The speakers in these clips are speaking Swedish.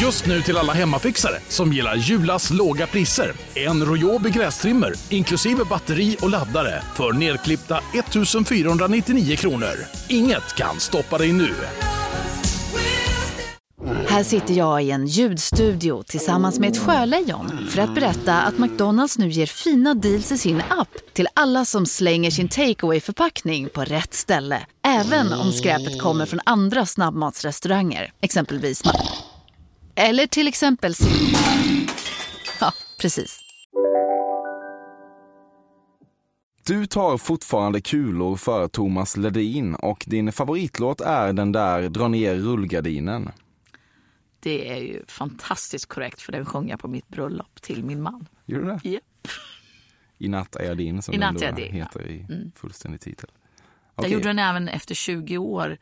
Just nu till alla hemmafixare som gillar Julas låga priser. En royobi grästrimmer inklusive batteri och laddare för nedklippta 499 kronor. Inget kan stoppa dig nu. Här sitter jag i en ljudstudio tillsammans med ett sjölejon för att berätta att McDonalds nu ger fina deals i sin app till alla som slänger sin takeaway förpackning på rätt ställe. Även om skräpet kommer från andra snabbmatsrestauranger, exempelvis Ma- Eller till exempel Sim- Ja, precis. Du tar fortfarande kulor för Thomas Ledin och din favoritlåt är den där Dra ner rullgardinen. Det är ju fantastiskt korrekt för den sjöng jag på mitt bröllop till min man. Gjorde du det? Japp. I natt är jag din som I den natt då är jag din, Mm. heter i fullständig titel. Jag Okej. gjorde den även efter 20 år.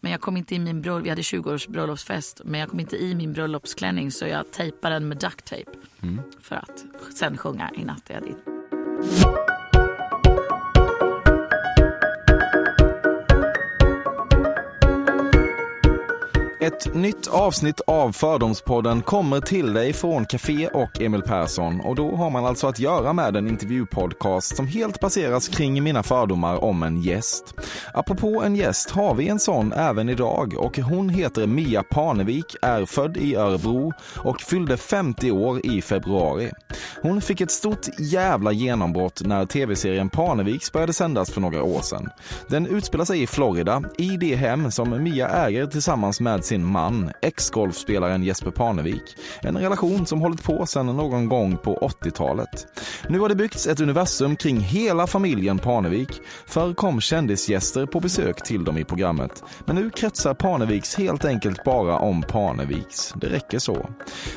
Men jag kom inte i min bröllop, vi hade 20 års bröllopsfest. Men jag kom inte i min bröllopsklänning så jag tejpade den med duct tape. Mm. För att sen sjunga I natt är jag din. Ett nytt avsnitt av Fördomspodden kommer till dig från Café och Emil Persson och då har man alltså att göra med en intervjupodcast som helt baseras kring mina fördomar om en gäst. Apropå en gäst har vi en sån även idag och hon heter Mia Parnevik, är född i Örebro och fyllde 50 år i februari. Hon fick ett stort jävla genombrott när tv-serien Parneviks började sändas för några år sedan. Den utspelar sig i Florida, i det hem som Mia äger tillsammans med sin man, ex-golfspelaren Jesper Parnevik. En relation som hållit på sedan någon gång på 80-talet. Nu har det byggts ett universum kring hela familjen Parnevik. Förr kom kändisgäster på besök till dem i programmet. Men nu kretsar Parneviks helt enkelt bara om Parneviks. Det räcker så.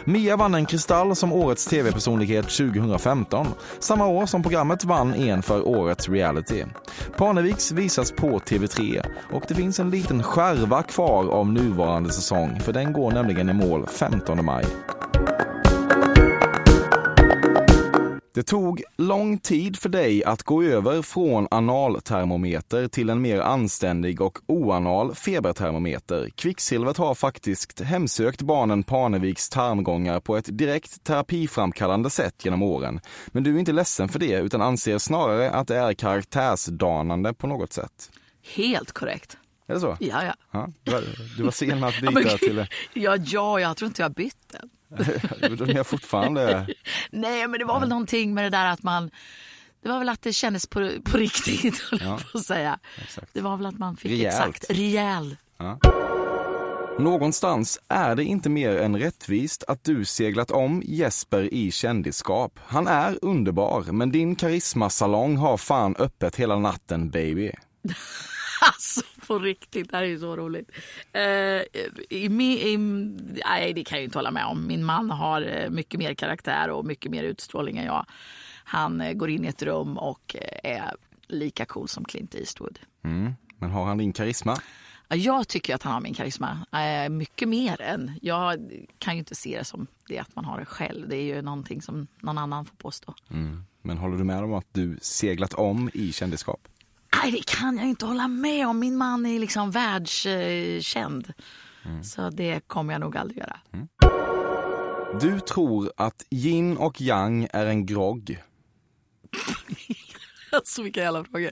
Mia vann en Kristall som årets tv-personlighet 2015. Samma år som programmet vann en för årets reality. Parneviks visas på TV3 och det finns en liten skärva kvar av nuvarande säsong för den går nämligen i mål 15 maj. Det tog lång tid för dig att gå över från analtermometer till en mer anständig och oanal febertermometer. Kvicksilvret har faktiskt hemsökt barnen Parneviks tarmgångar på ett direkt terapiframkallande sätt genom åren. Men du är inte ledsen för det utan anser snarare att det är karaktärsdanande på något sätt. Helt korrekt. Är det så? Ja, ja. Ja, du var- du var sen att men byta gud. till... Ja, ja, jag tror inte jag har bytt den. Men jag fortfarande... Nej, men det var väl någonting med det där att man... Det var väl att det kändes på, på riktigt, höll jag på att säga. exakt. Det var väl att man fick Rejält. exakt rejäl. Någonstans är det inte mer än rättvist att du seglat om Jesper i kändisskap. Han är underbar, men din karismasalong har fan öppet hela natten baby. Alltså, på riktigt. Det här är ju så roligt. Eh, i, mi- i, nej, det kan jag ju inte hålla med om. Min man har eh, mycket mer karaktär och mycket mer utstrålning än jag. Han eh, går in i ett rum och eh, är lika cool som Clint Eastwood. Mm. Men har han din karisma? Ja, Jag tycker att han har min karisma. Eh, Mycket mer än. Jag kan ju inte se det som det att man har det själv. Det är ju någonting som någon annan får påstå. Mm. Men håller du med om att du seglat om i kändisskap? Nej, det kan jag inte hålla med om. Min man är liksom världskänd. Så det kommer jag nog aldrig göra. Du tror att yin och yang är en grogg. Alltså vilka jävla frågor.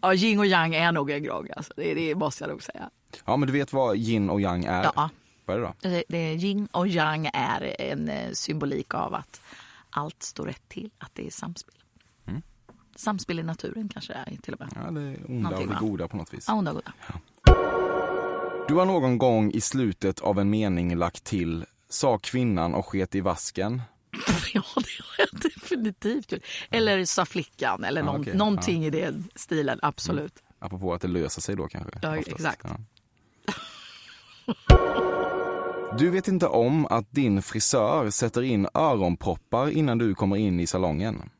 Ja, yin och yang är nog en grogg. Alltså. Det, det måste jag nog säga. Ja, men du vet vad yin och yang är? Ja. Vad är det då? Det, det, yin och yang är en eh, symbolik av att allt står rätt till. Att det är samspel. Samspel i naturen kanske det är till och med. Mm. Ja, det är onda Någonting, och det va? goda på något vis. Ja, onda, goda. Du har någon gång i slutet av en mening lagt till sa kvinnan och sket i vasken. Ja, det har jag definitivt gjort. Eller sa flickan, eller någon, okej. Mm. någonting i den stilen. Absolut. Apropå att det löser sig då kanske? Ja, exakt. Du vet inte om att din frisör sätter in öronproppar innan du kommer in i salongen.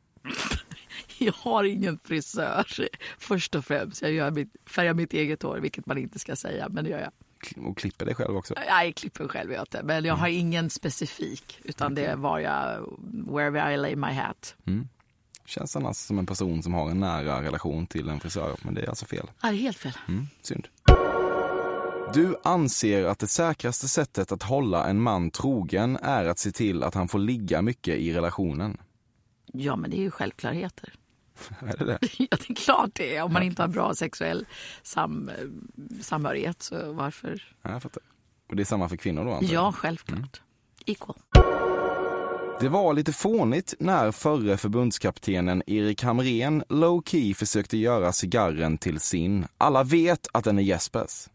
Jag har ingen frisör, först och främst. Jag gör mitt, färgar mitt eget hår, vilket man inte ska säga, men det gör jag. Kli- Och klipper dig själv också. Nej, klipper själv gör jag inte. Men jag har Mm. ingen specifik, utan det är var jag, wherever I lay my hat. Mm. Känns annars som en person som Mm. har en nära relation till en frisör, men det är alltså fel. Ja, det är helt fel. Mm, synd. Du anser att det säkraste sättet att hålla en man trogen är att se till att han får ligga mycket i relationen. Ja, men det är ju självklarheter. Är det det? Ja, det är klart det är. Om man inte har bra sexuell sam, samhörighet, så varför? Ja, jag fattar. Och det Mm. är samma för kvinnor då? antar jag? Ja, självklart. Equal. Det var lite fånigt när förre förbundskaptenen Erik Hamrén low-key försökte göra cigarren till sin. Alla vet att den är Jespers.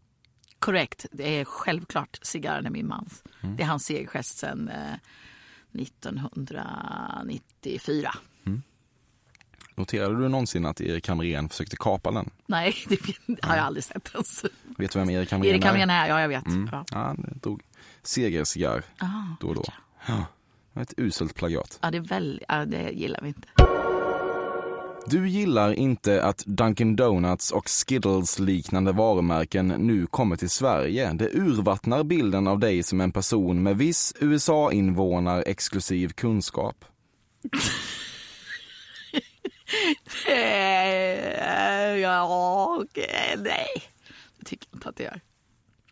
Korrekt. Det är självklart cigarren är min mans. Mm. Det är hans segergest sedan eh, 1994. Noterade du någonsin att Erik Hamrén försökte kapa den? Nej, det har jag aldrig sett ens. Vet du Mm. vem Erik Hamrén Erik är? Hamrén är, ja jag vet. Ja. Ja, han drog segercigarr Ah, då och då. Ja, det var ett uselt plagiat. Ja, det, är väl, ja, det gillar vi inte. Du gillar inte att Dunkin Donuts och Skittles liknande varumärken nu kommer till Sverige. Det urvattnar bilden av dig som en person med viss USA-invånar-exklusiv kunskap. Eh, Ja, okej, nej. Det tycker jag inte att det gör.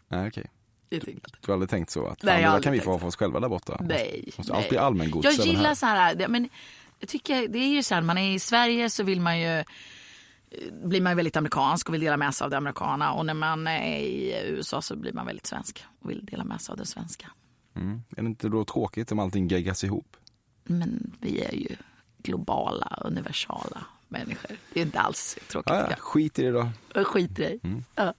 Nej, okej. Det tycker jag inte. Du har aldrig tänkt så? Att, Nej, fan, jag har det där kan vi aldrig få ha för oss själva där borta? Nej. Måste nej. allt bli allmängods Jag även gillar här. så här, det- men jag tycker det är ju så här, man är i Sverige så vill man ju eh, blir man ju väldigt amerikansk och vill dela med sig av det amerikana och när man är i USA så blir man väldigt svensk och vill dela med sig av det svenska. Mm. Är det inte då tråkigt om allting geggas ihop? Men vi är ju globala, universala människor. Det är inte alls tråkigt. Ah, ja, Mm. tycker skit i det då. jag. Jag skiter i. Ja.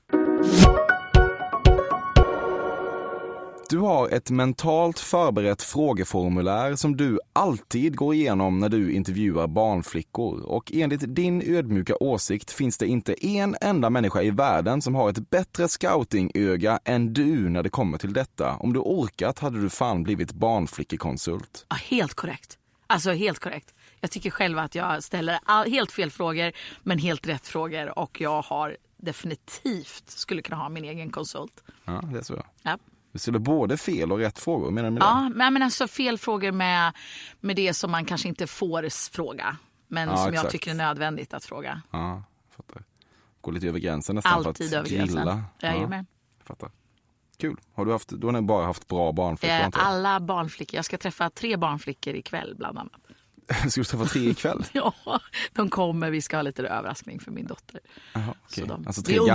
Du har ett mentalt förberett frågeformulär som du alltid går igenom när du intervjuar barnflickor. Och enligt din ödmjuka åsikt finns det inte en enda människa i världen som har ett bättre scoutingöga än du när det kommer till detta. Om du orkat hade du fan blivit barnflickekonsult. Ja, helt korrekt. Alltså helt korrekt. Jag tycker själv att jag ställer all, helt fel frågor men helt rätt frågor och jag har definitivt skulle kunna ha min egen konsult. Ja, det är så. Ja. Du ställer både fel och rätt frågor, menar du med det? Ja, men, men alltså fel frågor med, med det som man kanske inte får s- fråga men Ja, som jag exakt. tycker är nödvändigt att fråga. Ja, fattar. Gå lite över gränsen nästan Alltid för att över gränsen. grilla. Jajamän. fattar. Kul. Har du, haft, du har nog bara haft bra barnflickor? Eh, antar jag. Alla barnflickor. Jag ska träffa tre barnflickor ikväll bland annat. Ska du träffa tre ikväll? Ja, de kommer. Vi ska ha lite överraskning för min dotter. Jaha, Så okej. de, Alltså vi tre umgås,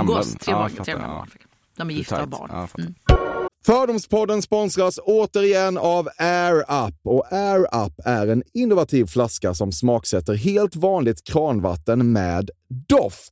Tre, barn, gamla. Ja, jag fattar, tre ja. gamla barnflickor. De är Det är gifta och tajt. barn. Mm. Ja, jag fattar. Fördomspodden sponsras återigen av Air Up. Och Air Up är en innovativ flaska som smaksätter helt vanligt kranvatten med doft.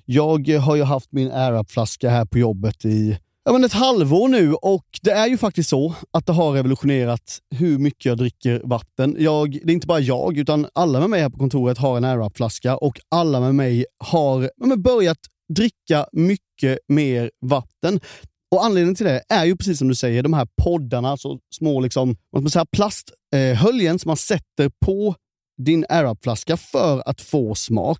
Jag eh, har ju haft min AirUp-flaska här på jobbet i ja, men ett halvår nu och det är ju faktiskt så att det har revolutionerat hur mycket jag dricker vatten. Jag, det är inte bara jag utan alla med mig här på kontoret har en AirUp-flaska och alla med mig har ja, men börjat dricka mycket mer vatten. Och Anledningen till det är ju precis som du säger, de här poddarna, alltså små liksom, vad ska man säga, plasthöljen eh, höljen som man sätter på din AirUp-flaska för att få smak.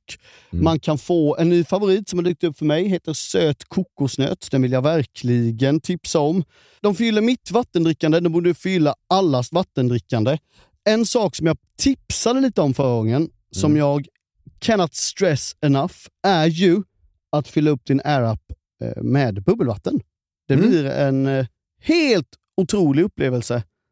Man kan få en ny favorit som har dykt upp för mig, heter Söt kokosnöt. Den vill jag verkligen tipsa om. De fyller mitt vattendrickande, de borde fylla allas vattendrickande. En sak som jag tipsade lite om förra gången, som jag cannot stress enough, är ju att fylla upp din AirUp eh, med bubbelvatten. Det Mm. blir en eh, helt otrolig upplevelse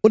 Och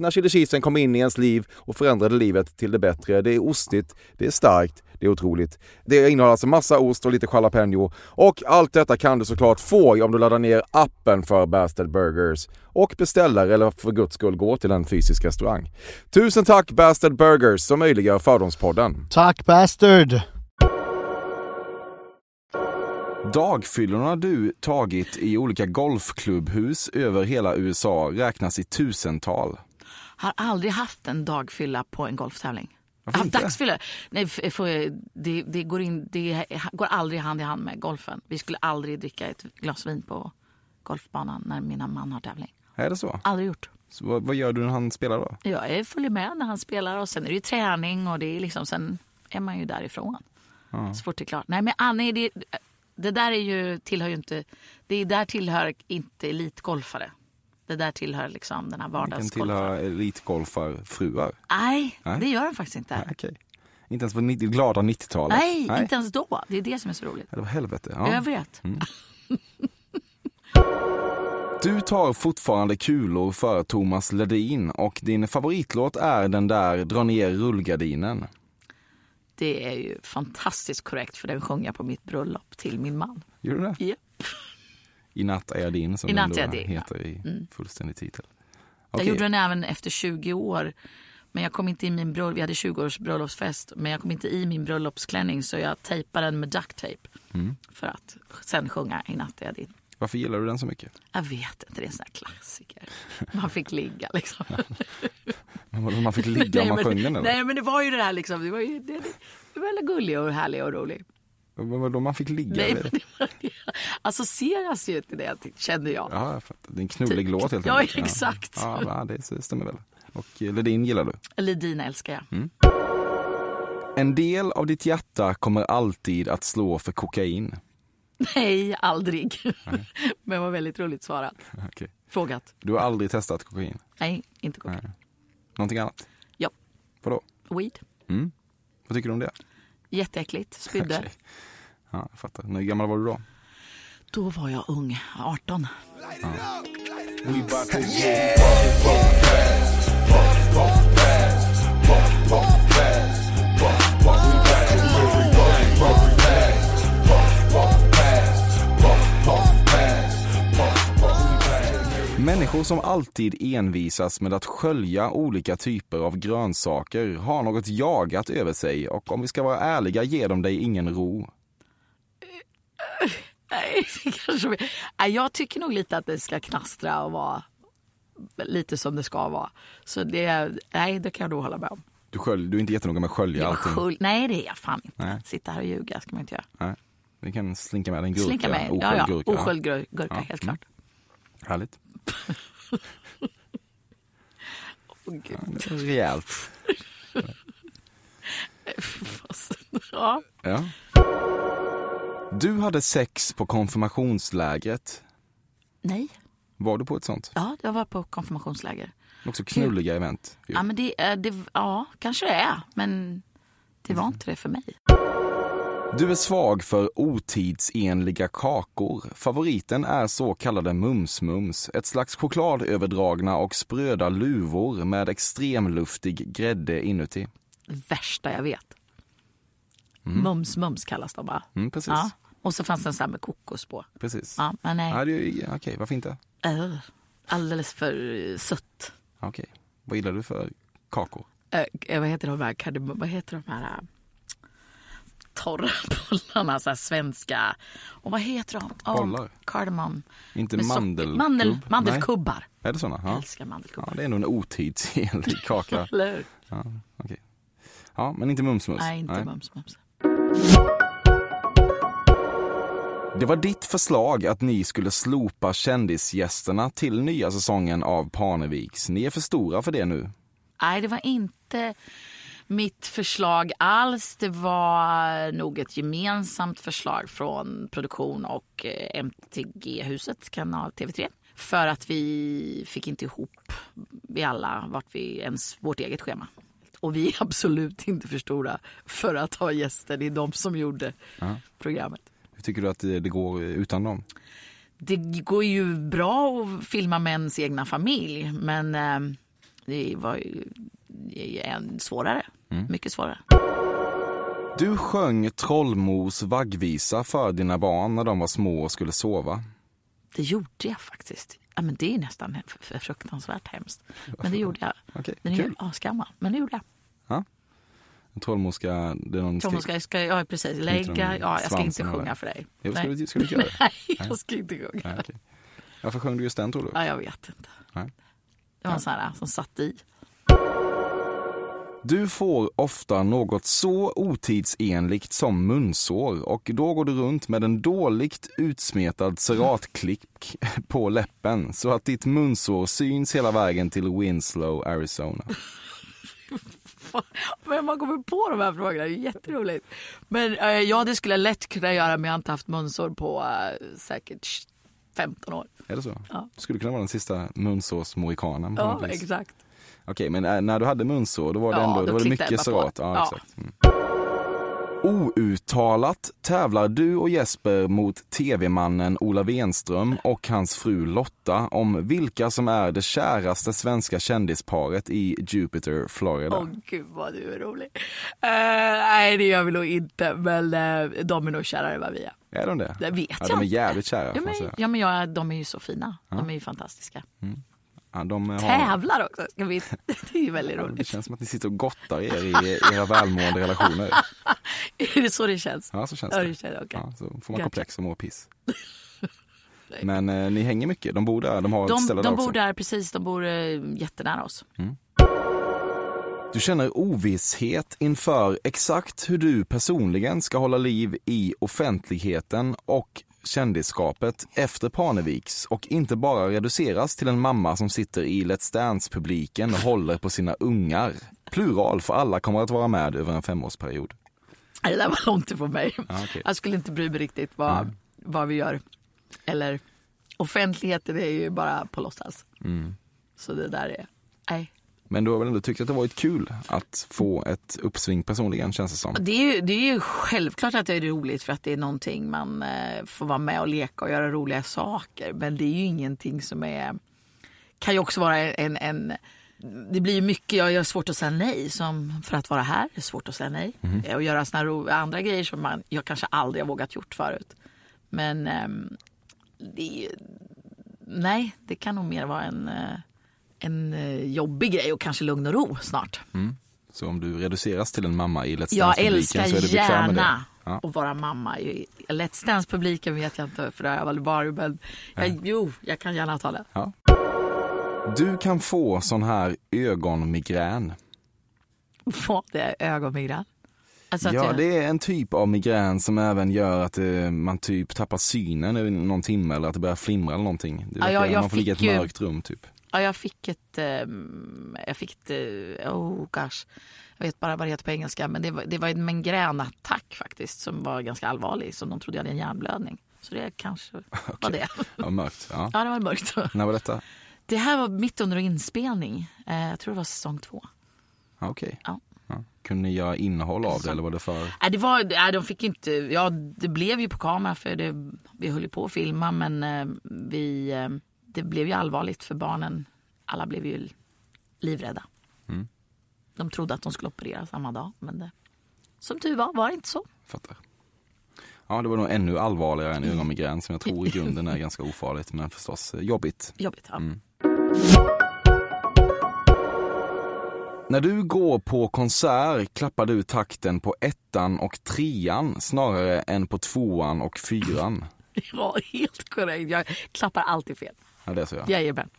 när chili cheesen kom in i ens liv och förändrade livet till det bättre. Det är ostigt, det är starkt, det är otroligt. Det innehåller alltså massa ost och lite jalapeno. Och allt detta kan du såklart få om du laddar ner appen för Bastard Burgers och beställer, eller för guds skull gå till en fysisk restaurang. Tusen tack Bastard Burgers som möjliggör Fördomspodden. Tack bastard! Dagfyllorna du tagit i olika golfklubbhus över hela USA räknas i tusental. Har aldrig haft en dagfylla på en golftävling. Jag Varför har haft inte? dagsfylla. Nej, f- för det, det, går in, det går aldrig hand i hand med golfen. Vi skulle aldrig dricka ett glas vin på golfbanan när mina man har tävling. Är det så? Aldrig gjort. så vad, vad gör du när han spelar då? Jag är- följer med när han spelar och sen är det ju träning och det är liksom, sen är man ju därifrån. Så fort det är klart. Nej men Annie, det, det där är ju, tillhör ju inte, det där tillhör inte elitgolfare. Det där tillhör liksom den här Kan vardagsgolfaren. tillhöra elitgolfarfruar? Nej, Nej. det gör den faktiskt inte. Nej, Okej. Inte ens på 90, glada 90-talet? Nej, inte ens då. Det är det som är så roligt. Ja, Det var helvete. Ja. Mm. Jag vet. Du tar fortfarande kulor för Thomas Ledin och din favoritlåt är den där Dra ner rullgardinen. Det är ju fantastiskt korrekt för den sjöng jag på mitt bröllop till min man. Gjorde du det? Japp. I natt är jag din som I den natt är jag då din, ja. Mm. heter i fullständig titel. Jag Okej. gjorde den även efter 20 år. Men jag kom inte i min bröll- vi hade 20-års bröllopsfest, men jag kom inte i min Mm. bröllopsklänning så jag tejpade den med duct tape. För att sen sjunga I natt är jag din. Varför gillar du den så mycket? Jag vet inte, det är en sån här klassiker. Man fick ligga liksom. Men vadå, Man fick ligga om man sjöng den men, eller? nej men det var ju det här liksom, det var ju det, det, det var väldigt gullig och härlig och rolig. Men Vadå, man fick ligga? Nej, eller? men det var, Alltså, associeras ju till det kände jag. Ja, jag fattar. Det är en knullig låt helt Typ. Ja, enkelt. exakt. Ja, ja det stämmer väl. Och eh, Ledin gillar du. Lidin älskar jag. Mm. En del av ditt hjärta kommer alltid att slå för kokain. Nej, aldrig. men var väldigt roligt svarat. Okej. Frågat. Du har aldrig testat kokain? Nej, inte kokain. Någonting annat? Ja, Vadå? weed. Vad tycker du om det? Jätteäckligt, spydde. Okej. Ja, jag fattar. Hur gammal var du då? Då var jag ung, 18. Människor som alltid envisas med att skölja olika typer av grönsaker har något jagat över sig och om vi ska vara ärliga ger de dig ingen ro. Nej, det kanske vi- Nej, jag tycker nog lite att det ska knastra och vara lite som det ska vara. Så det, nej, det kan jag då hålla med om. Du, skölj, du är inte jättenoga med att skölja Jag allting. skul- nej, det är jag fan inte. Nej. Sitta här och ljuga ska man inte göra. Nej. Vi kan slinka med en gurka. Slinka mig. osköljd Ja, ja. gurka. Osköljd gurka, helt Mm. klart. Härligt. Åh, gud. Det är Rejält. Ja. Ja. Du hade sex på konfirmationslägret. Nej, Var du på ett sånt? ja, jag var på konfirmationsläger. Också knulliga event. ju. Ja, men det, eh, det, ja kanske det är, men det var inte det för mig. Du är svag för otidsenliga kakor. Favoriten är så kallade mumsmums, ett slags chokladöverdragna och spröda luvor med extremluftig grädde inuti. Det värsta jag vet. Mums, mums kallas de bara. Mm, precis. Ja. Och så fanns det en sån här med kokos på. Precis. Ja, men nej. Ja, det är ju- Okej, varför inte? Eh, alldeles för eh, sött. Okej. Vad gillar du för kakor? Eh, vad heter de här, kardemum- vad heter de här eh, torra bollarna, så här svenska. Och vad heter de? Ja, Bollar? Cardamom. Inte Med socker- mandelkubb? Mandel, Nej. mandelkubbar. Är det såna? Jag Ja. älskar mandelkubbar. ja, det är nog en otidsenlig kaka. Eller hur? Ja, okej. ja, men inte mumsmus? Nej, inte mums, mums. Det var ditt förslag att ni skulle slopa kändisgästerna till nya säsongen av Parneviks. Ni är för stora för det nu. Nej, det var inte mitt förslag alls. Det var nog ett gemensamt förslag från produktion och eh, MTG-huset, kanal TV3. För att vi fick inte ihop, vi alla, vart vi ens vårt eget schema. Och vi är absolut inte för stora för att ha gäster. Det är de som gjorde programmet. Hur tycker du att det det går utan dem? Det går ju bra att filma med ens egna familj, men eh, det var ju det är en svårare. Mm. Mycket svårare. Du sjöng Trollmos vaggvisa för dina barn när de var små och skulle sova. Det gjorde jag faktiskt. Ja, men det är nästan f- f- fruktansvärt hemskt. Men det gjorde jag. Okej, Den är ju kul. asgammal, men det gjorde jag. En trollmoska, det är någon... Tom, ska, jag- ska, ja, precis. Knyter Lägga. de Ja, jag ska inte svansen eller? sjunga för dig. Jo, ska Nej. du- ska du inte göra det? Nej, jag ska inte sjunga. Nej, okej. Varför sjöng du just den tror du? Ja, jag vet inte. Nej. Det var en sån här som satt i. Du får ofta något så otidsenligt som munsår och då går du runt med en dåligt utsmetad seratklick på läppen så att ditt munsår syns hela vägen till Winslow, Arizona. Fan, Men man kommer på de här frågorna, det är jätteroligt. Men eh, ja, det skulle jag lätt kunna göra men jag har inte haft munsår på eh, säkert 15 år. Är det så? Ja. Du skulle kunna vara den sista munsårsmohikanen på Ja, något vis. exakt. Okej, men eh, när du hade munsår då var det Ja, ändå då då var det klickade mycket jag bara på. serat. Ja, Ja. Exakt. Mm. Outtalat tävlar du och Jesper mot tv-mannen Ola Wenström och hans fru Lotta om vilka som är det käraste svenska kändisparet i Jupiter, Florida. Åh gud vad du är rolig. Eh, nej det gör vi nog inte men eh, de är nog kärare än vad vi är. Är de det? Det vet ja, jag De är inte. jävligt kära Ja får man men, säga. ja, men ja, de är ju så fina. De är ju fantastiska. Ja, de har... Tävlar också. Ska vi... Det är ju väldigt Ja, Det roligt. känns som att ni sitter och gottar er i era välmående relationer. Är det så det känns? Ja, så känns Ja, det. det känns- okej. ja, så får man Gotcha. komplex och mår piss. Men eh, ni hänger mycket. De bor där. De har ett ställe De, där de också. bor där precis, de bor eh, jättenära oss. Du känner ovisshet inför exakt hur du personligen ska hålla liv i offentligheten och kändisskapet efter Parneviks och inte bara reduceras till en mamma som sitter i Let's Dance-publiken och håller på sina ungar. Plural, för alla kommer att vara med över en femårsperiod. Nej, Det där var långt ifrån mig. Ja, okej. Jag skulle inte bry mig riktigt vad, vad vi gör. Eller offentligheten är ju bara på låtsas. Så det där är, nej. Men du har väl ändå tyckt att det varit kul att få ett uppsving personligen känns det som. Det är, ju, det är ju självklart att det är roligt för att det är någonting man eh, får vara med och leka och göra roliga saker. Men det är ju ingenting som är, kan ju också vara en, en det blir ju mycket, jag har svårt att säga nej som för att vara här, det är svårt att säga nej. Eh, Och göra såna ro, andra grejer som man, jag kanske aldrig har vågat gjort förut. Men ehm, det är ju, nej, det kan nog mer vara en, eh, en eh, jobbig grej och kanske lugn och ro snart. Så om du reduceras till en mamma i Let's Jag Dance-publiken älskar så är du bekväm med det. gärna Ja. att vara mamma. I Let's Dance-publiken vet jag inte, för det har jag väl varit. Men jag, jo, jag kan gärna ta det. Du kan få sån här ögonmigrän. Få det ögonmigrän. Alltså att ja, jag, det är en typ av migrän som även gör att eh, man typ tappar synen i någon timme eller att det börjar flimra eller någonting. Det Ja, verkar- jag- jag man får ligga i ett fick ju- mörkt rum typ. ja, jag fick ett... ehm, jag fick ett... eh, oh gosh. Jag vet bara vad det heter på engelska. Men det var, det var en migränattack faktiskt som var ganska allvarlig. Som de trodde jag hade en hjärnblödning. Så det kanske var det. Ja, mörkt. Ja. Ja, det var mörkt. När var detta? Det här var mitt under inspelning. Eh, jag tror det var säsong två. Ja, okej. Ja. Ja. Kunde ni göra innehåll av det eller var det för? Nej, Äh, det var, nej, de fick inte, ja det blev ju på kamera för det, vi höll ju på att filma men eh, vi, eh, det blev ju allvarligt för barnen. Alla blev ju livrädda. De trodde att de skulle operera samma dag men det, som tur var var det inte så. Fattar. Ja, det var nog ännu allvarligare Mm. än ögonmigrän som jag tror i grunden är ganska ofarligt men förstås eh, jobbigt. Jobbigt. Ja. När du går på konsert klappar du takten på ettan och trean snarare än på tvåan och fyran. ja, helt korrekt. Jag klappar alltid fel. Ja, det är så jag. Jajamän.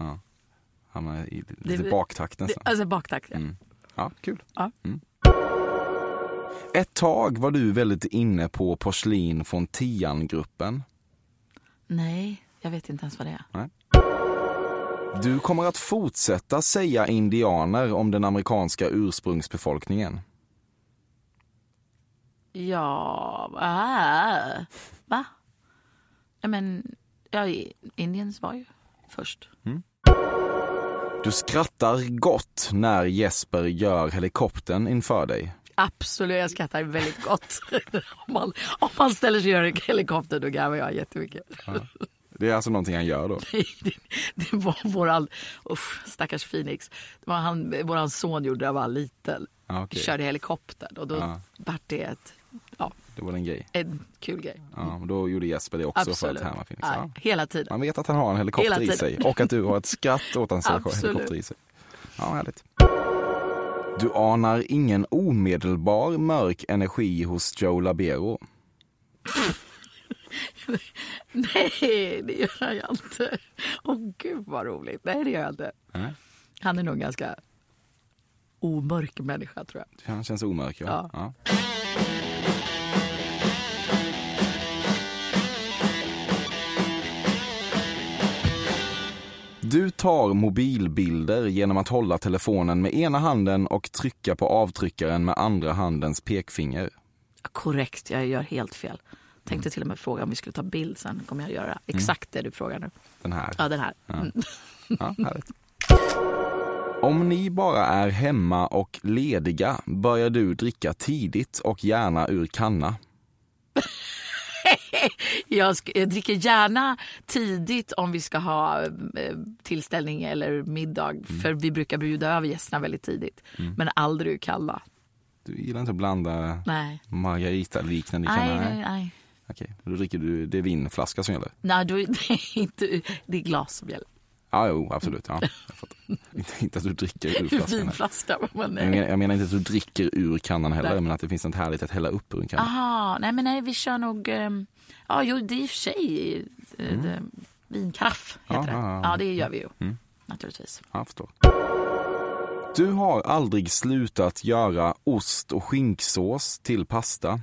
Hamnar i lite Det- baktakt Det, nästan. alltså baktack. ja. Ja, kul. Ja. Mm. Ett tag var du väldigt inne på porslin från Tian-gruppen. Nej, jag vet inte ens vad det är. Du kommer att fortsätta säga indianer om den amerikanska ursprungsbefolkningen. Ja, äh, va? Ja, men ja, Indiens var ju först. Du skrattar gott när Jesper gör helikoptern inför dig. Absolut, jag skrattar väldigt gott. om, man, om man ställer sig och gör en helikopter då garvar jag jättemycket. Det är alltså någonting han gör då. det, det var våran, usch, stackars Phoenix, det var han, våran son gjorde när han var liten. Ja, okej. Körde helikoptern och då Ja. vart det ett, ja, Det var en grej. en kul grej. Ja, men då gjorde Jesper det också för att härma Phoenix. Ja. Ja, hela tiden. Man vet att han har en helikopter Hela i tiden. sig och att du har ett skratt åt hans Absolut. helikopter i sig. Ja, härligt. Du anar ingen omedelbar mörk energi hos Joe Labero. Nej, det gör jag inte. Åh gud vad roligt. Nej, det gör jag inte. Nej. Han är nog en ganska omörk människa tror jag. Han känns omörk, ja. Ja. ja. Du tar mobilbilder genom att hålla telefonen med ena handen och trycka på avtryckaren med andra handens pekfinger. Korrekt, jag gör helt fel. Tänkte till och med fråga om vi skulle ta bild sen. kommer jag göra exakt det du frågar nu. Den här. Mm. Ja, den här. Mm. Ja, härligt. Om ni bara är hemma och lediga börjar du dricka tidigt och gärna ur kanna. Jag, sk- jag dricker gärna tidigt om vi ska ha eh, tillställning eller middag. För vi brukar bjuda över gästerna väldigt tidigt. Men aldrig ur kalla. Du gillar inte att blanda Nej. Margarita-liknande i kanna? Nej, nej, nej. Okej, men då dricker du, det är vinflaska som gäller? Nej, då, det, är inte, det är glas som gäller. Ja, jo, absolut. Ja, jag fattar. inte, inte att du dricker ur flaskan. nej. Vinflaska. Men Jag nej. menar, jag menar inte att du dricker ur kannan heller, Nej. Ah. men att det finns något härligt att hälla upp ur en kanna. Aha, nej men nej vi kör nog, ehm, ja jo det är i och för sig, eh, det, Vinkaraff heter Ja, ja, det. ja. Ja, det gör vi ju. Mm. Naturligtvis. Ja, jag förstår. Du har aldrig slutat göra ost och skinksås till pasta.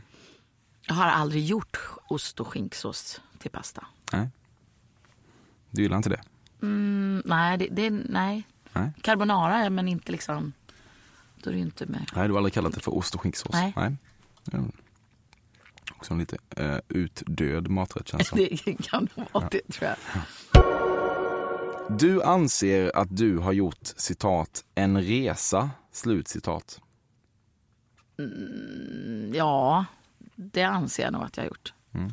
Jag har aldrig gjort ost och skinksås till pasta. Nej. Du gillar inte det? Mm, nej, det, det, nej. Nej. Carbonara, ja, men inte liksom... Då är det ju inte med. Nej, du har aldrig kallat det för ost och skinksås? Nej. Ja. Också en lite eh, utdöd maträtt känns som. Det kan nog vara det, tror jag. Du anser att du har gjort citat en resa, slutcitat. Ja, det anser jag nog att jag har gjort. Mm.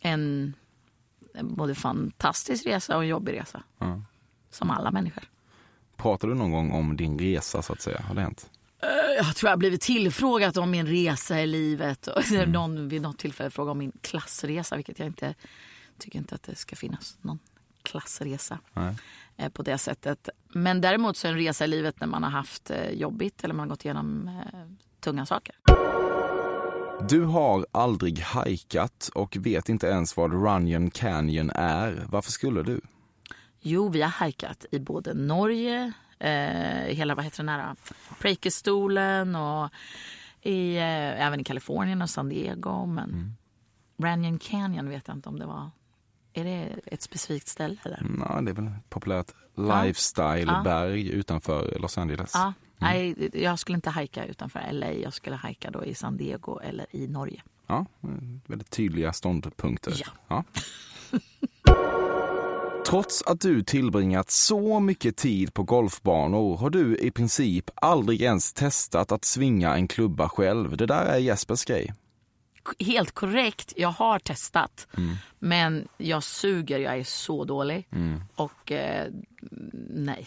En, en både fantastisk resa och en jobbig resa. Ja. Som alla människor. Pratar du någon gång om din resa så att säga? Har det hänt? Jag tror jag har blivit tillfrågad om min resa i livet. Och Mm. någon vid något tillfälle frågade om min klassresa, vilket jag inte tycker inte att det ska finnas någon klassresa Nej. eh, på det sättet. Men däremot så är en resa i livet när man har haft eh, jobbigt eller man har gått igenom eh, tunga saker. Du har aldrig hajkat och vet inte ens vad Runyon Canyon är. Varför skulle du? Jo, vi har hajkat i både Norge, eh, hela vad heter den här, Preikestolen och i, eh, även i Kalifornien och San Diego. Men Runyon Canyon vet jag inte om det var. Är det ett specifikt ställe? Eller? Nej, Mm, det är väl ett populärt lifestyle-berg utanför Los Angeles. Ja, nej, jag skulle inte hajka utanför LA. Jag skulle hajka då i San Diego eller i Norge. Ja, väldigt tydliga ståndpunkter. Ja. Trots att du tillbringat så mycket tid på golfbanor har du i princip aldrig ens testat att svinga en klubba själv. Det där är Jespers grej. helt korrekt. Jag har testat. Men jag suger. Jag är så dålig. Och eh, nej.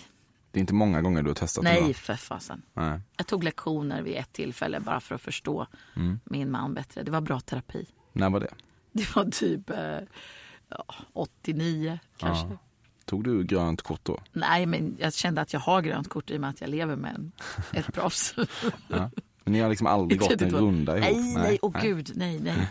Det är inte många gånger du har testat det. Nej, va? för fasen. Nej. Jag tog lektioner vid ett tillfälle bara för att förstå min man bättre. Det var bra terapi. När var det? Det var typ eh, ja, 89 kanske. Tog du grönt kort då? Nej, men jag kände att jag har grönt kort i och med att jag lever med en, ett proffs. Typ Ja. Men ni har liksom aldrig gått en runda ihop? Nej, nej, åh gud, nej, nej.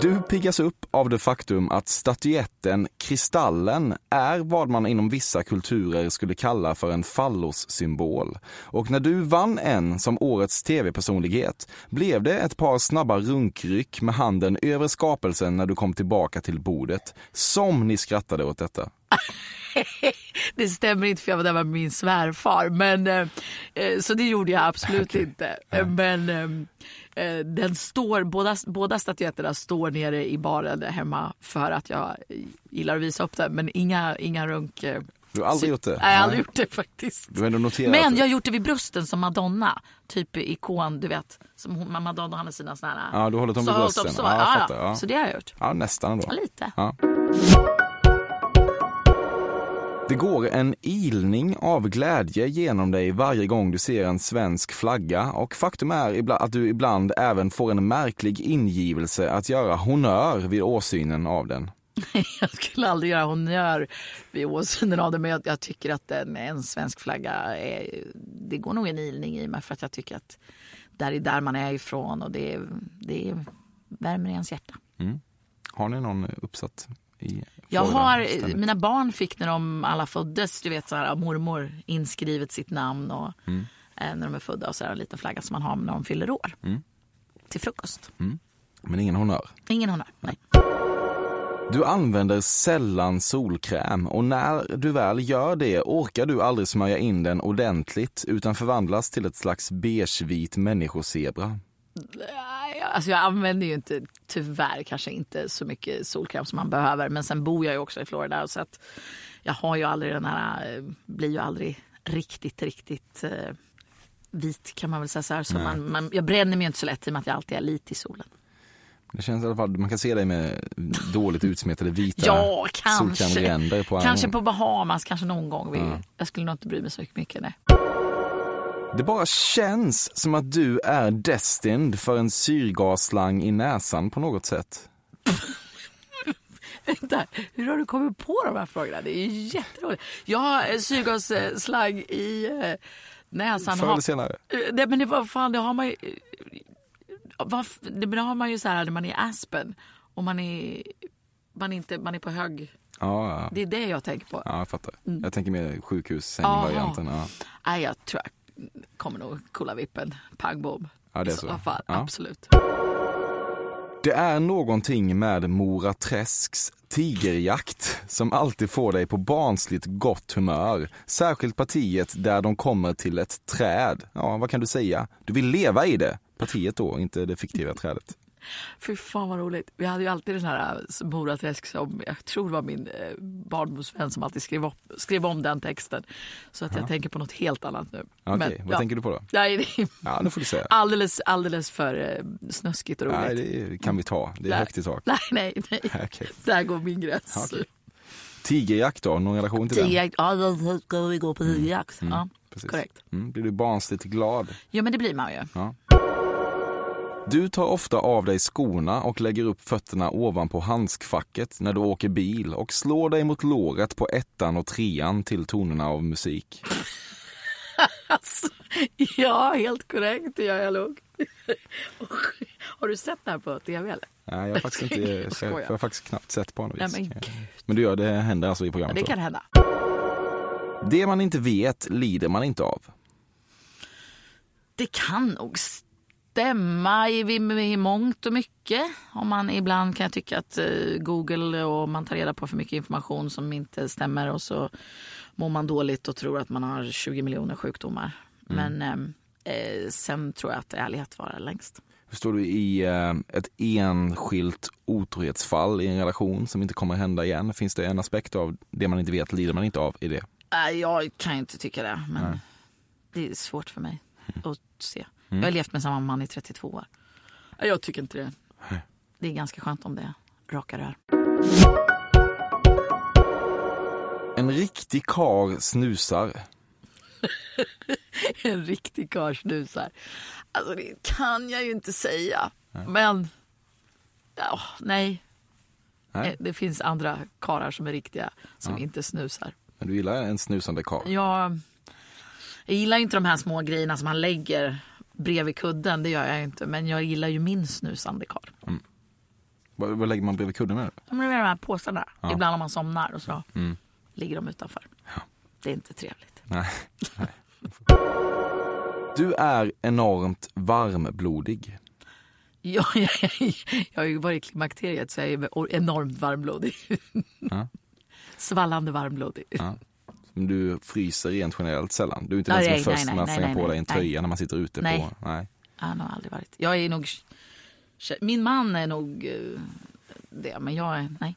Du piggas upp av det faktum att statyetten Kristallen är vad man inom vissa kulturer skulle kalla för en fallossymbol. Och när du vann en som årets tv-personlighet blev det ett par snabba runkryck med handen över skapelsen när du kom tillbaka till bordet. Som ni skrattade åt detta. Det stämmer inte för jag var där med min svärfar. Men, eh, eh, så det gjorde jag absolut inte. Eh, Men eh, eh, den står, båda, båda statyetterna står nere i baren hemma för att jag gillar att visa upp den. Men inga, inga runk... eh, Du har aldrig sy- gjort det? Nej, jag har aldrig Nej. gjort det faktiskt. Du har ändå noterat Men det. jag har gjort det vid brösten som Madonna. Typ ikon, du vet. Som hon, Madonna hade sina såna här... Ja, du har hållit dem så vid har jag hållit dem brösten. Så, Ja, jag ja, ja. fattar, ja. så det har jag gjort. Ja, nästan då. Ja, Lite. Ja. Det går en ilning av glädje genom dig varje gång du ser en svensk flagga och faktum är ibla- att du ibland även får en märklig ingivelse att göra honör vid åsynen av den. Jag skulle aldrig göra honnör vid åsynen av det, men jag, jag tycker att en, en svensk flagga, är, det går nog en ilning i mig för att jag tycker att där är där man är ifrån och det, är- det är- värmer i ens hjärta. Har ni någon uppsatt i Jag Florida har, ständigt? mina barn fick när de alla föddes, du vet så här, av mormor inskrivet sitt namn och eh, när de är födda och så här, en liten flagga som man har när de fyller år. Till frukost. Men ingen honör. Ingen honnör, nej. Du använder sällan solkräm och när du väl gör det orkar du aldrig smörja in den ordentligt utan förvandlas till ett slags beigevit människozebra. Nej, Alltså jag använder ju inte, tyvärr kanske inte så mycket solkräm som man behöver. Men sen bor jag ju också i Florida så att jag har ju aldrig den här, eh, blir ju aldrig riktigt, riktigt eh, vit kan man väl säga så här. Så man, man, jag bränner mig ju inte så lätt i och med att jag alltid är lite i solen. Det känns i alla fall, man kan se dig med dåligt utsmetade vita Ja, kanske. solkrämränder på kanske armen. på Bahamas, kanske någon gång. Vi, Jag skulle nog inte bry mig så mycket. Nej. Det bara känns som att du är destined för en syrgasslang i näsan på något sätt. Vänta, hur har du kommit på de här frågorna? Det är ju jätteroligt. Jag har eh, syrgasslang i eh, näsan. Förr har- eller senare. Eh, Nej men det var fan, det har man ju... eh, Varf, det, men det har man ju så här när man är i Aspen och man är man, inte, man är på hög... Ja, ja. Det Mm. är det jag tänker på. ja jag fattar. Jag tänker mer sjukhussängvarianten. Ja. Nej, jag tror jag kommer nog kolla vippen. Pang bom. Ja, det är I så. så fall, Ja. absolut. Det är någonting med Mora Träsks tigerjakt som alltid får dig på barnsligt gott humör. Särskilt partiet där de kommer till ett träd. Ja, vad kan du säga? Du vill leva i det. Partiet då, inte det fiktiva trädet. Fy fan vad roligt. Vi hade ju alltid den här eh, Moraträsk som jag tror det var min eh, barndomsvän som alltid skrev, upp, skrev om den texten. Så att jag tänker på något helt annat nu. Okej, vad ja. tänker du på då? Nej, det är Ja, nu får du säga. alldeles, alldeles för eh, snuskigt och roligt. Nej, det kan vi ta. Det är högt i tak. Nej, nej, nej. Okej. Där går min gräns. Ja, okej. Tigerjakt då, någon relation till den? Tigerjakt. Ja, då ska vi gå på tigerjakt. Ja, Mm. Precis. korrekt. Mm, blir du barnsligt glad? Ja, men det blir man ju. Du tar ofta av dig skorna och lägger upp fötterna ovanpå handskfacket när du åker bil och slår dig mot låret på ettan och trean till tonerna av musik. Alltså, ja, helt korrekt. Det gör jag nog. Och, Har du sett det här på tv eller? Nej, jag har faktiskt, inte, Jag skojar. jag har faktiskt knappt sett på Nej, honom. Eh, men gud. Men du gör det händer alltså i programmet? Det då? kan hända. det man inte vet lider man inte av. Det kan nog stämma i, i, i mångt och mycket. Om man ibland kan jag tycka att eh, Google och man tar reda på för mycket information som inte stämmer och så mår man dåligt och tror att man har 20 miljoner sjukdomar. Men ehm, eh, sen tror jag att ärlighet varar längst. Hur står du i eh, ett enskilt otrohetsfall i en relation som inte kommer hända igen? Finns det en aspekt av det man inte vet lider man inte av i det? Äh, jag kan ju inte tycka det, men det är svårt för mig att se. Jag har levt med samma man i 32 år. Äh, Jag tycker inte det. Det är ganska skönt om det är raka rör. En riktig kar snusar. en riktig karl snusar. Alltså det kan jag ju inte säga. Men ja, nej. Nej. Eh, Det finns andra karar som är riktiga som inte snusar. Men du gillar en snusande kar? Jag, jag gillar ju inte de här små grejerna som man lägger bredvid kudden. Det gör jag ju inte. Men jag gillar ju min snusande karl. Vad, vad lägger man bredvid kudden med? Ja, Men det är de här påsarna. Ibland om man somnar och så ligger de utanför. Det är inte trevligt. Nej. Du är enormt varmblodig. Jag, jag, jag har ju varit i klimakteriet så jag är enormt varmblodig. Svallande varmblodig. Du fryser rent generellt sällan. Du är inte den Nej, som nej, är först nej, med att nej, slänga nej, på dig nej, en nej. tröja när man sitter ute. Nej. På. Nej. Han har aldrig varit. Jag är nog... Min man är nog eh, det, men jag är... Nej.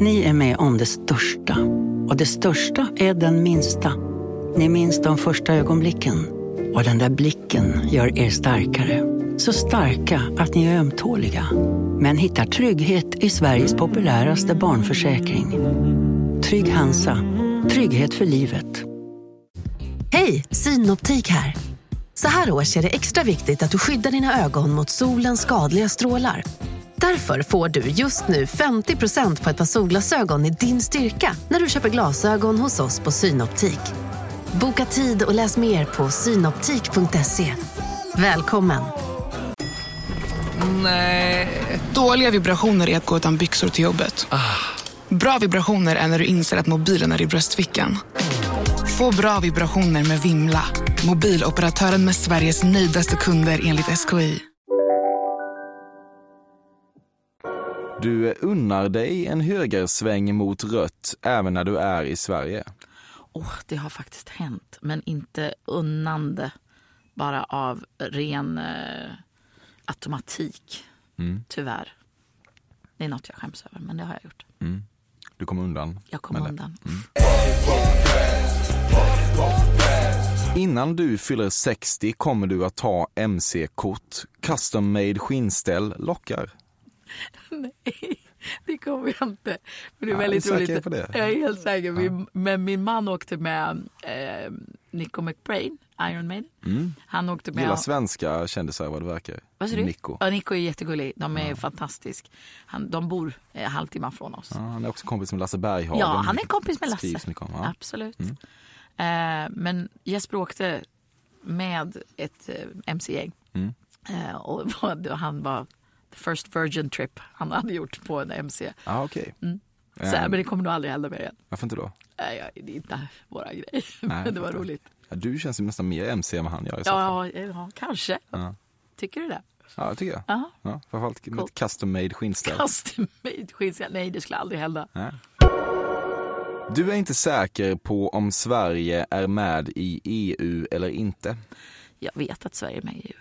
Ni är med om det största. Och det största är den minsta. Ni minns de första ögonblicken. Och den där blicken gör er starkare. Så starka att ni är ömtåliga. Men hittar trygghet i Sveriges populäraste barnförsäkring. Trygg Hansa. Trygghet för livet. Hej, Synoptik här. Så här års är det extra viktigt att du skyddar dina ögon mot solens skadliga strålar. Därför får du just nu 50% på ett par solglasögon i din styrka när du köper glasögon hos oss på Synoptik. Boka tid och läs mer på synoptik.se. Välkommen! Dåliga vibrationer är att gå utan byxor till jobbet. Bra vibrationer är när du inser att mobilen är i bröstfickan. Få bra vibrationer med Vimla. Mobiloperatören med Sveriges nöjdaste kunder enligt SKI. Du unnar dig en högersväng mot rött även när du är i Sverige. Åh, det har faktiskt hänt, men inte unnande. Bara av ren eh, automatik, Mm. tyvärr. Det är något jag skäms över, men det har jag gjort. Du kommer undan. Jag kom med det. undan. Innan du fyller 60 kommer du att ta mc-kort. Custom made skinnställ lockar. Nej, det kommer jag inte. Men det är Ja, väldigt är du roligt. säker på det? Jag är helt säker. Min, men min man åkte med eh, Nico McBrain, Iron Maiden. Han åkte med... Mm. Gillar svenska kändisar vad det verkar. Vad sa du? Nico. Ja, Nico är jättegullig. De är fantastisk. Han, de bor eh, halvtimme från oss. Ja, han är också kompis med Lasse Berghagen. Ja, han är kompis med Lasse. Skrivs mycket om, ja. Mm. Absolut. Mm. Eh, men Jesper åkte med ett eh, mc-gäng Eh, och vad- han var the first virgin trip han hade gjort på en MC. Ja, ah, okej. Så här, men det kommer nog aldrig hända mer igen. Varför inte då? Nej, jag- det är inte våra grejer. Nej, men det var fattar. roligt. Ja, du känns ju nästan mer MC än vad han gör i så fall. Ja, ja, ja, kanske. Tycker du det? Ja, det tycker jag. Ja. Ja, framförallt med Coolt. ett custom made skinnställ. Custom made skinnskalle? Nej, det skulle aldrig hända. Du är inte säker på om Sverige är med i EU eller inte. Jag vet att Sverige är med i EU.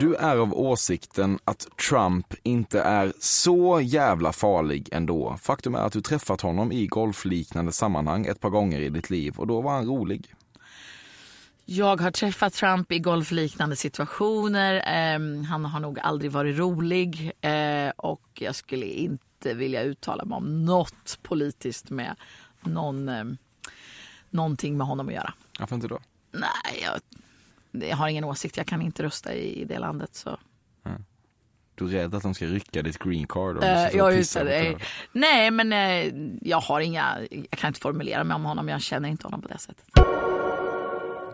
Du är av åsikten att Trump inte är så jävla farlig ändå. Faktum är att du träffat honom i golfliknande sammanhang ett par gånger i ditt liv och då var han rolig. Jag har träffat Trump i golfliknande situationer. Ehm, han har nog aldrig varit rolig eh, och jag skulle inte vilja uttala mig om något politiskt med någon, ehm, någonting med honom att göra. Varför inte då? Nej, jag, jag har ingen åsikt. Jag kan inte rösta i, i det landet. Så. Du är rädd att de ska rycka ditt green card? och Eh, sitta och jag utser pissa mot dig. det. Nej, men eh, jag har inga... Jag kan inte formulera mig om honom. Jag känner inte honom på det sättet.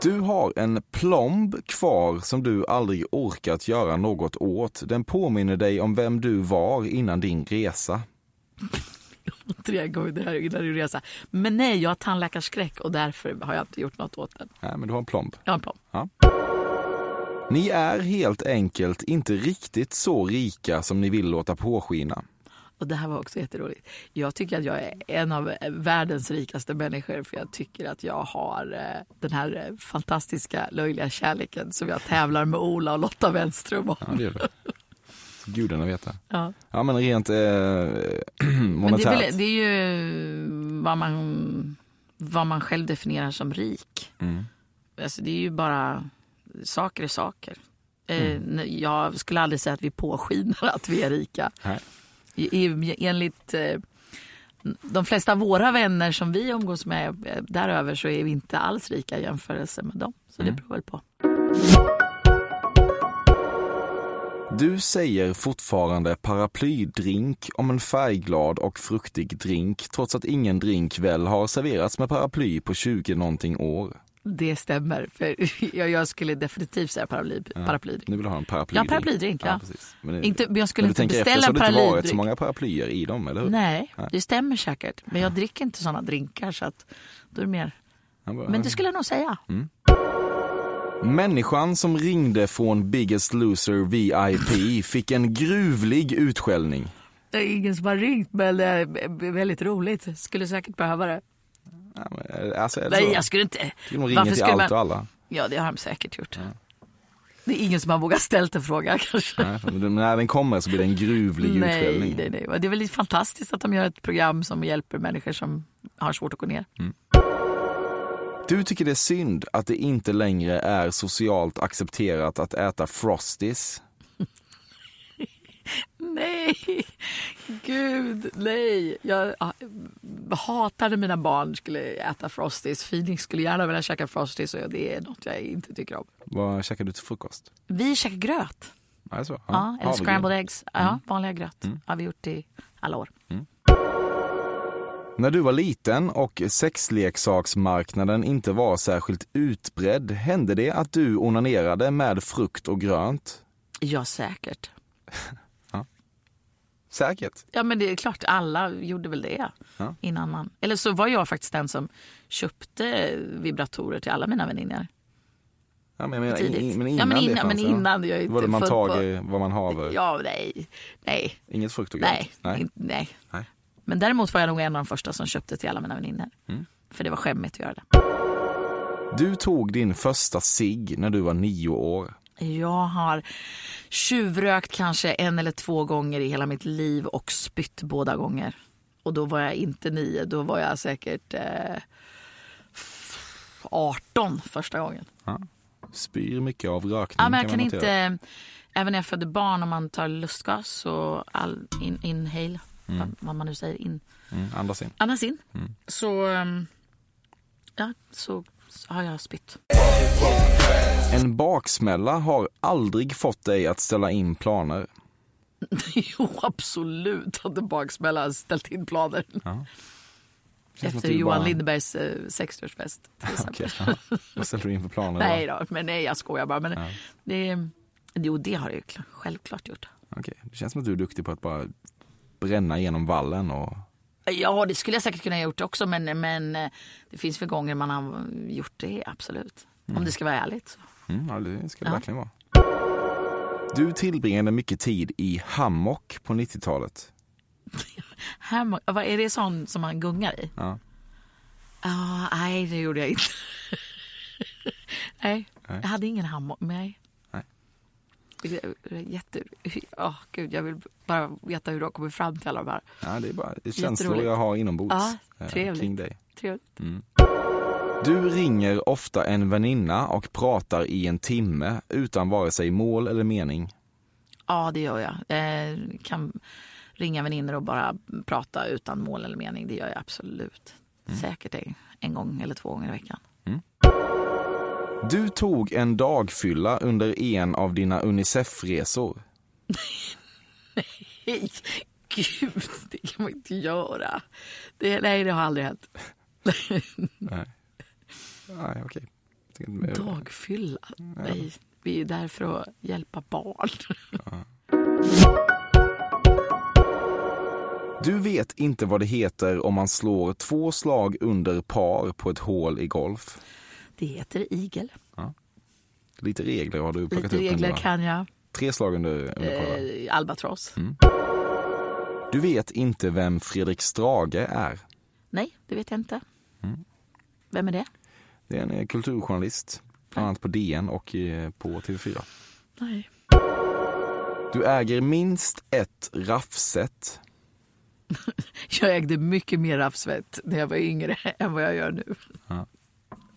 Du har en plomb kvar som du aldrig orkat göra något åt. Den påminner dig om vem du var innan din resa. Tre gånger det här innan du resa. Men nej, jag har tandläkarskräck och därför har jag inte gjort något åt den. Nej, men du har en plomb. Jag har en plan. Ni är helt enkelt inte riktigt så rika som ni vill låta påskina. Och det här var också jätteroligt. Jag tycker att jag är en av eh, världens rikaste människor för jag tycker att jag har eh, den här eh, fantastiska löjliga kärleken som jag tävlar med Ola och Lotta Wenström om. Ja, det gör du. Gudarna vet det. Ja. Ja, men rent eh, Men det, monetärt. är väl, det är ju vad man, vad man själv definierar som rik. Mm. Alltså, det är ju bara saker är saker. Eh, Mm. nej, Jag skulle aldrig säga att vi påskinar att vi är rika. Nej. I- i- Enligt eh, de flesta av våra vänner som vi umgås med eh, däröver så är vi inte alls rika i jämförelse med dem. Så Mm. det beror väl på. Du säger fortfarande paraplydrink om en färgglad och fruktig drink trots att ingen drink väl har serverats med paraply på 20 någonting år. Det stämmer. För jag, jag skulle definitivt säga paraply, paraply. Nu vill du ha en paraplydrink. Ja, paraplydrink. Ja. precis. Men det- Inte, men jag skulle När du inte tänker beställa efter så har det inte varit paraplydrink. så många paraplyer i dem, eller hur? Nej, Nej. det stämmer säkert. Men jag dricker inte såna drinkar. Så att då är det mer. Han bara, "Ah." Men det skulle jag nog säga. Mm. Människan som ringde från Biggest Loser VIP fick en gruvlig utskällning. Det är ingen som har ringt, men det är väldigt roligt. Skulle säkert behöva det. Ja, men, Alltså, är det Nej, så? jag skulle inte... Skulle de ringer till allt och man... alla. Ja, det har de säkert gjort. Det är ingen som har vågat ställt en fråga kanske. Nej, men den- när den kommer så blir det en gruvlig Nej, utskällning. nej, nej. Och Det är väl lite fantastiskt att de gör ett program som hjälper människor som har svårt att gå ner. Du tycker det är synd att det inte längre är socialt accepterat att äta frosties. Nej, gud, nej. Jag ah, hatar när mina barn skulle äta Frosties. Phoenix skulle gärna vilja käka Frosties och det är något jag inte tycker om. Vad käkar du till frukost? Vi käkar gröt, Nej, så. ja. eller havregryn. scrambled eggs. Mm. Ja, vanliga gröt har vi gjort i alla år. När du var liten och sexleksaksmarknaden inte var särskilt utbredd hände det att du onanerade med frukt och grönt? Ja, säkert. Säkert. Ja, men det är klart, alla gjorde väl det Ja. innan man... Eller så var jag faktiskt den som köpte vibratorer till alla mina vänninner. Ja, men, jag menar, in, Tidigt. in, men innan ja, men det innan, fanns, men innan jag är ja. inte Var det man född tag på- i vad man haver? Ja, nej, nej. Inget frukt och grönt? Nej, nej. nej. Nej. Men däremot var jag nog en av de första som köpte till alla mina vänner. För det var skämmigt att göra det. Du tog din första cigg när du var nio år. Jag har tjuvrökt kanske en eller två gånger i hela mitt liv och spytt båda gånger. Och då var jag inte nio, då var jag säkert eh, f- 18 första gången. Spyr mycket av rökning Ja, men jag Mm, kan man notera. inte, även när jag födde barn, om man tar lustgas och all, in, inhale, vad, vad man nu säger, in, Mm, andas in. andas in, så, ehm, ja, så, så har jag spytt. En baksmälla har aldrig fått dig att ställa in planer. Jo, absolut hade baksmälla har ställt in planer. Känns som att Efter du Johan bara- Lindbergs eh, 60-årsfest. till exempel. Okej, ja. Vad ställer du in för planer? då? nej då, men nej jag skojar bara. Men det, Jo, det har jag ju kl- självklart gjort. Okej, det känns som att du är duktig på att bara bränna igenom vallen och... Ja, det skulle jag säkert kunna ha gjort också, men, men eh, det finns väl gånger man har gjort det, absolut. Om det ska vara ärligt. Så. Mm, ja, det ska det Ja. verkligen vara. Du tillbringade mycket tid i hammock på 90-talet. Här, må- vad är det sån som man gungar i? Ja. Ja, nej, det gjorde jag inte. nej, Nej. jag hade ingen hammock. Nej. Nej. Det är Jätte... Oh, gud, jag vill bara veta hur du har kommit fram till alla de här. Ja, det är bara känslor Jätteroligt. jag har inombords Ja, eh, trevligt. kring dig. Trevligt. Du ringer ofta en väninna och pratar i en timme utan vare sig mål eller mening. Ja, det gör jag. Eh, kan ringa väninnor och bara prata utan mål eller mening. Det gör jag absolut. Säkert en, en gång eller två gånger i veckan. Du tog en dagfylla under en av dina Unicef-resor. Nej, gud, det kan man inte göra. Det, nej, det har aldrig hänt. Nej, okej. Eh, Dagfylla? Nej, vi är där för att hjälpa barn. Du vet inte vad det heter om man slår två slag under par på ett hål i golf. Det heter igel. Lite regler har du plockat Lite upp. nu, regler va? kan jag. Tre slag under, under par. va? Eh, albatross. Mm. Du vet inte vem Fredrik Strage är. Nej, det vet jag inte. Mm. Vem är det? Det är en eh, kulturjournalist, bland annat på DN och eh, på TV4. Nej. Du äger minst ett raffset. Jag ägde mycket mer raffsvett när jag var yngre än vad jag gör nu.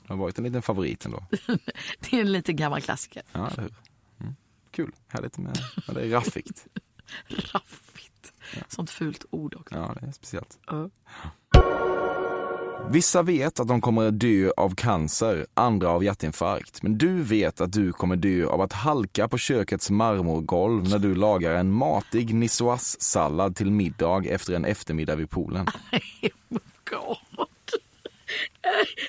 Det har varit en liten favorit ändå. Det är en liten gammal klassiker. Ja, eller hur? Mm. Kul, härligt med ja, det är raffigt. Raffigt. Sånt fult ord också. Ja, det är speciellt. Ja. Vissa vet att de kommer att dö av cancer, andra av hjärtinfarkt. Men du vet att du kommer dö av att halka på kökets marmorgolv när du lagar en matig nisoas-sallad till middag efter en eftermiddag vid poolen. Nej, oh my God.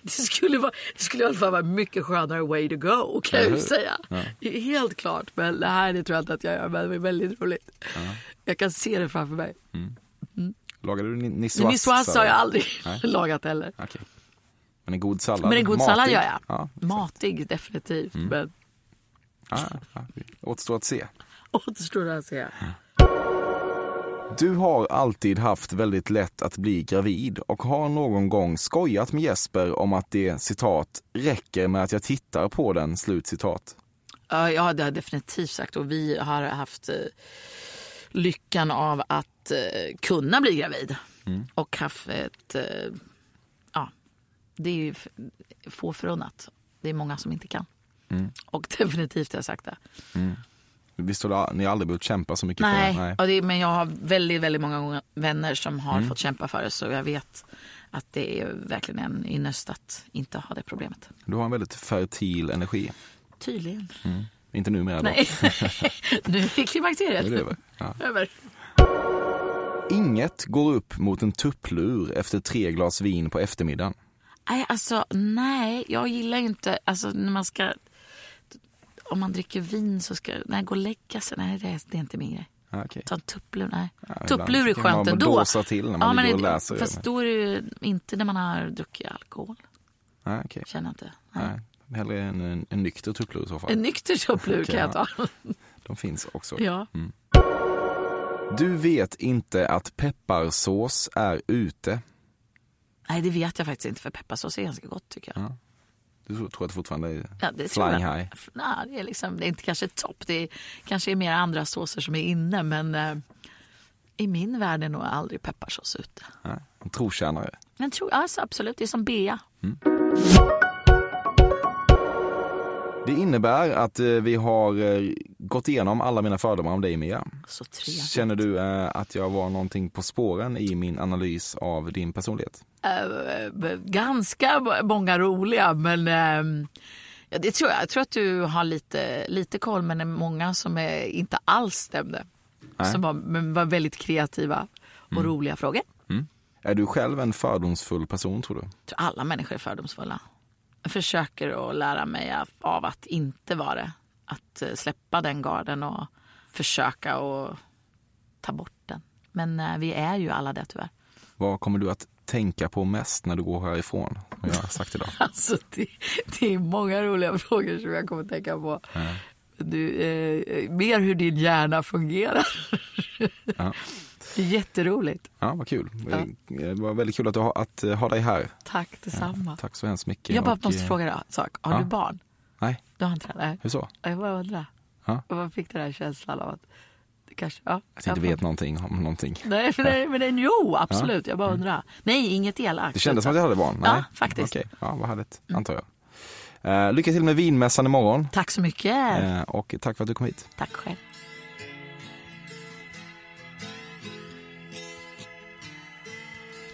Det skulle, vara, det skulle i alla fall vara mycket skönare way to go kan jag ju säga. Det är Helt klart, men det här det tror jag inte att jag gör, men det är väldigt roligt. Jag kan se det framför mig. Lagar du ni- Nissoas har jag nisoas-sallad? aldrig lagat heller. Okej. Men en god sallad? Men en god matig. sallad gör jag. Ja, Mm. Matig definitivt, men ja, ja. det Återstår att se. återstår att se. Du har alltid haft väldigt lätt att bli gravid och har någon gång skojat med Jesper om att det citat räcker med att jag tittar på den slut citat. Ja, ja, det har jag definitivt sagt. Och vi har haft eh, lyckan av att eh, kunna bli gravid. Mm. Och haft ett... Eh, ja, det är ju f- få förunnat. Det är många som inte kan. Mm. Och definitivt har jag sagt det. Visst har du a- ni har aldrig behövt kämpa så mycket Nej, för det? Och det, men jag har väldigt, väldigt många vänner som har Mm. fått kämpa för det. Så jag vet att det är verkligen en ynnest att inte ha det problemet. Du har en väldigt fertil energi. Tydligen. Inte numera då. Nej, nu är klimakteriet Nu är det över. Ja. över. Inget går upp mot en tupplur efter tre glas vin på eftermiddagen. Nej, alltså nej, jag gillar ju inte, alltså när man ska, om man dricker vin så ska, nej gå och lägga sig, nej det är, det är inte min grej. Ja, Ah, okej. Ta en tupplur, nej. ibland tupplur är kan skönt man ändå. blåsa till när man ligger och det- läser. Fast då är det ju inte när man har druckit alkohol, Ja, Ah, okej. känner jag inte. Nej. Nej. Hellre en, en, en nykter tupplur i så fall. En nykter tupplur kan jag ta. De finns också. ja. Du vet inte att pepparsås är ute. Nej, det vet jag faktiskt inte, för pepparsås är ganska gott tycker jag. Du tror tror att det fortfarande är Ja, det tror flying jag. high? F- Nej, det är liksom, det är inte kanske topp, det är, kanske är mer andra såser som är inne, men eh, i min värld är nog aldrig pepparsås ute. Nej, en trotjänare. Men tror, alltså, absolut, det är som bea. Det innebär att eh, vi har eh, gått igenom alla mina fördomar om dig Mia. Så trevligt. Känner du eh, att jag var någonting på spåren i min analys av din personlighet? Eh, Ganska b- många roliga, men ehm, ja, det tror jag. Jag tror att du har lite, lite koll, men det är många som är, inte alls stämde. Som var, men var väldigt kreativa och Mm. roliga frågor. Är du själv en fördomsfull person tror du? Jag tror alla människor är fördomsfulla. Jag försöker att lära mig av- av att inte vara det. att eh, släppa den garden och försöka och ta bort den. Men eh, vi är ju alla det tyvärr. Vad kommer du att tänka på mest när du går härifrån? Som jag har sagt idag. Alltså det, det är många roliga frågor som jag kommer att tänka på. Du, eh, mer hur din hjärna fungerar. Ja. Det är jätteroligt. Ja, vad kul. Eh, Det var väldigt kul att, du ha, att eh, ha dig här. Tack detsamma. Tack så hemskt mycket. Jag bara Och, måste eh, fråga dig en sak. Har ja. du barn? Nej, Du har inte det? Nej. hur så? Jag bara undrar. Ja. Och vad fick du den här känslan av att du kanske... Ja, Att jag inte vet någonting om någonting. Nej, men, nej, men nej, jo, absolut. Jag bara undrar. Nej, inget elakt. Mm. Det kändes som att jag hade barn? Ja, Nej. faktiskt. Okej, ja, vad härligt, antar jag. Eh, lycka till med vinmässan imorgon. Tack så mycket. Eh, och tack för att du kom hit. Tack själv.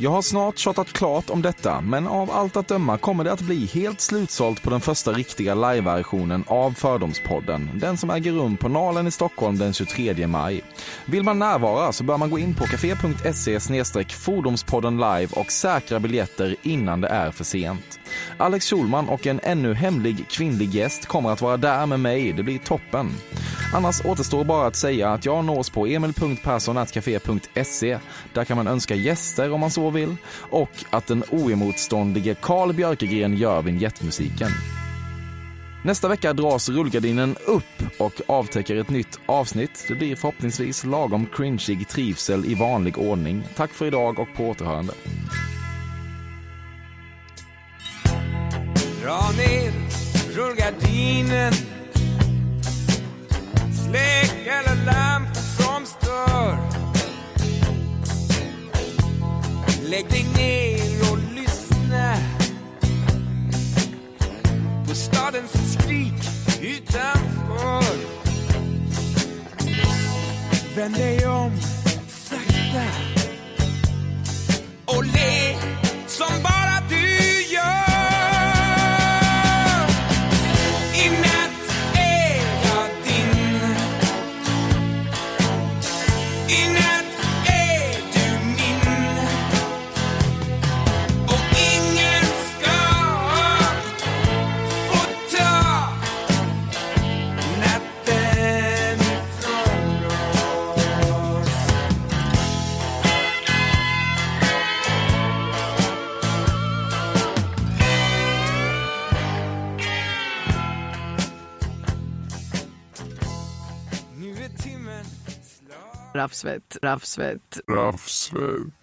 Jag har snart tjatat klart om detta, men av allt att döma kommer det att bli helt slutsålt på den första riktiga live-versionen av Fördomspodden. Den som äger rum på Nalen i Stockholm den 23 maj. Vill man närvara så bör man gå in på café.se Fordomspodden live och säkra biljetter innan det är för sent. Alex Schulman och en ännu hemlig kvinnlig gäst kommer att vara där med mig. Det blir toppen. Annars återstår bara att säga att jag nås på emil.perssonatcafé.se. E. Där kan man önska gäster om man så vill och att den oemotståndige Carl Björkegren gör vignettmusiken. Nästa vecka dras rullgardinen upp och avtäcker ett nytt avsnitt. Det blir förhoppningsvis lagom cringeig trivsel i vanlig ordning. Tack för idag och på återhörande. Dra ner rullgardinen Släck alla lampor som stör Lägg dig ner och lyssna på stadens skrik utanför Vänd dig om sakta och le som bara du gör. I natt är jag din. I natt är du min. Och ingen ska få ta natten ifrån oss. Nu är timmen slagen Raffsvett, raffsvett. Raffsvett.